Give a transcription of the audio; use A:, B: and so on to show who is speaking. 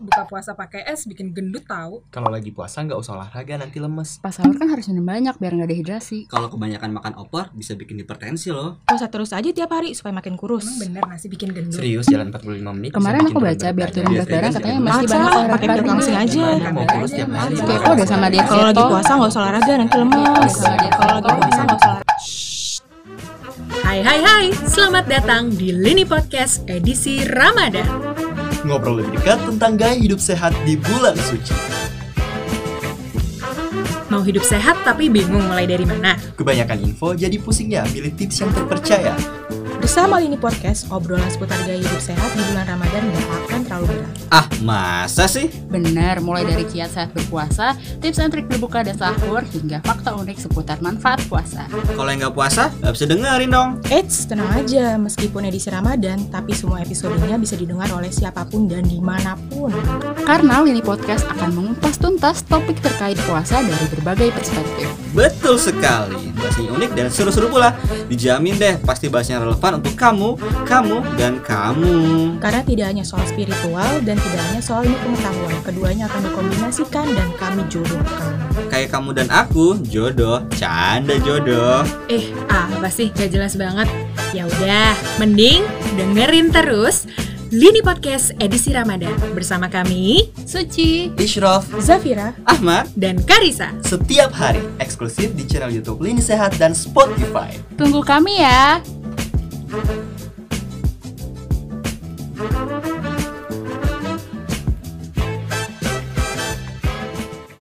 A: buka puasa pakai es bikin gendut tahu.
B: Kalau lagi puasa nggak usah olahraga nanti lemes.
C: Pas sahur kan harus minum banyak biar nggak dehidrasi.
D: Kalau kebanyakan makan opor bisa bikin hipertensi loh.
E: Puasa terus aja tiap hari supaya makin kurus.
A: Emang bener nasi bikin gendut.
B: Serius jalan 45 menit.
C: Kemarin aku baca biar turun berat badan katanya
B: Biasanya
C: masih
E: Maksa,
C: banyak orang
E: pakai
C: berat
E: tukang
C: badan.
E: sini aja.
B: Gimana mau kurus tiap hari?
C: Kepo deh sama dia
E: Kalau lagi
C: keto.
E: puasa nggak usah olahraga nanti lemes. Iya, Kalau lagi puasa nggak usah olahraga.
A: Hai hai hai, selamat datang di Lini Podcast edisi Ramadan.
B: Ngobrol lebih dekat tentang gaya hidup sehat di bulan suci.
A: Mau hidup sehat tapi bingung mulai dari mana?
B: Kebanyakan info jadi pusingnya pilih tips yang terpercaya.
E: Bersama Lini Podcast, obrolan seputar gaya hidup sehat di bulan Ramadan nggak akan terlalu berat.
D: Ah, masa sih?
C: Bener, mulai dari kiat saat berpuasa, tips dan trik berbuka dan sahur, hingga fakta unik seputar manfaat puasa.
D: Kalau yang nggak puasa, nggak bisa dengerin dong.
E: Eits, tenang aja. Meskipun edisi Ramadan, tapi semua episodenya bisa didengar oleh siapapun dan dimanapun.
C: Karena Lini Podcast akan mengupas tuntas topik terkait puasa dari berbagai perspektif.
D: Betul sekali. Bahasanya unik dan seru-seru pula. Dijamin deh, pasti bahasanya relevan untuk kamu, kamu, dan kamu.
E: Karena tidak hanya soal spiritual dan tidak hanya soal ilmu pengetahuan, keduanya akan dikombinasikan dan kami jodohkan.
D: Kayak kamu dan aku, jodoh, canda jodoh.
A: Eh, apa sih? Gak jelas banget. Ya udah, mending dengerin terus Lini Podcast edisi Ramadan bersama kami
C: Suci,
B: Ishraf
E: Zafira,
D: Ahmad,
A: dan Karisa.
B: setiap hari eksklusif di channel YouTube Lini Sehat dan Spotify.
C: tunggu kami ya!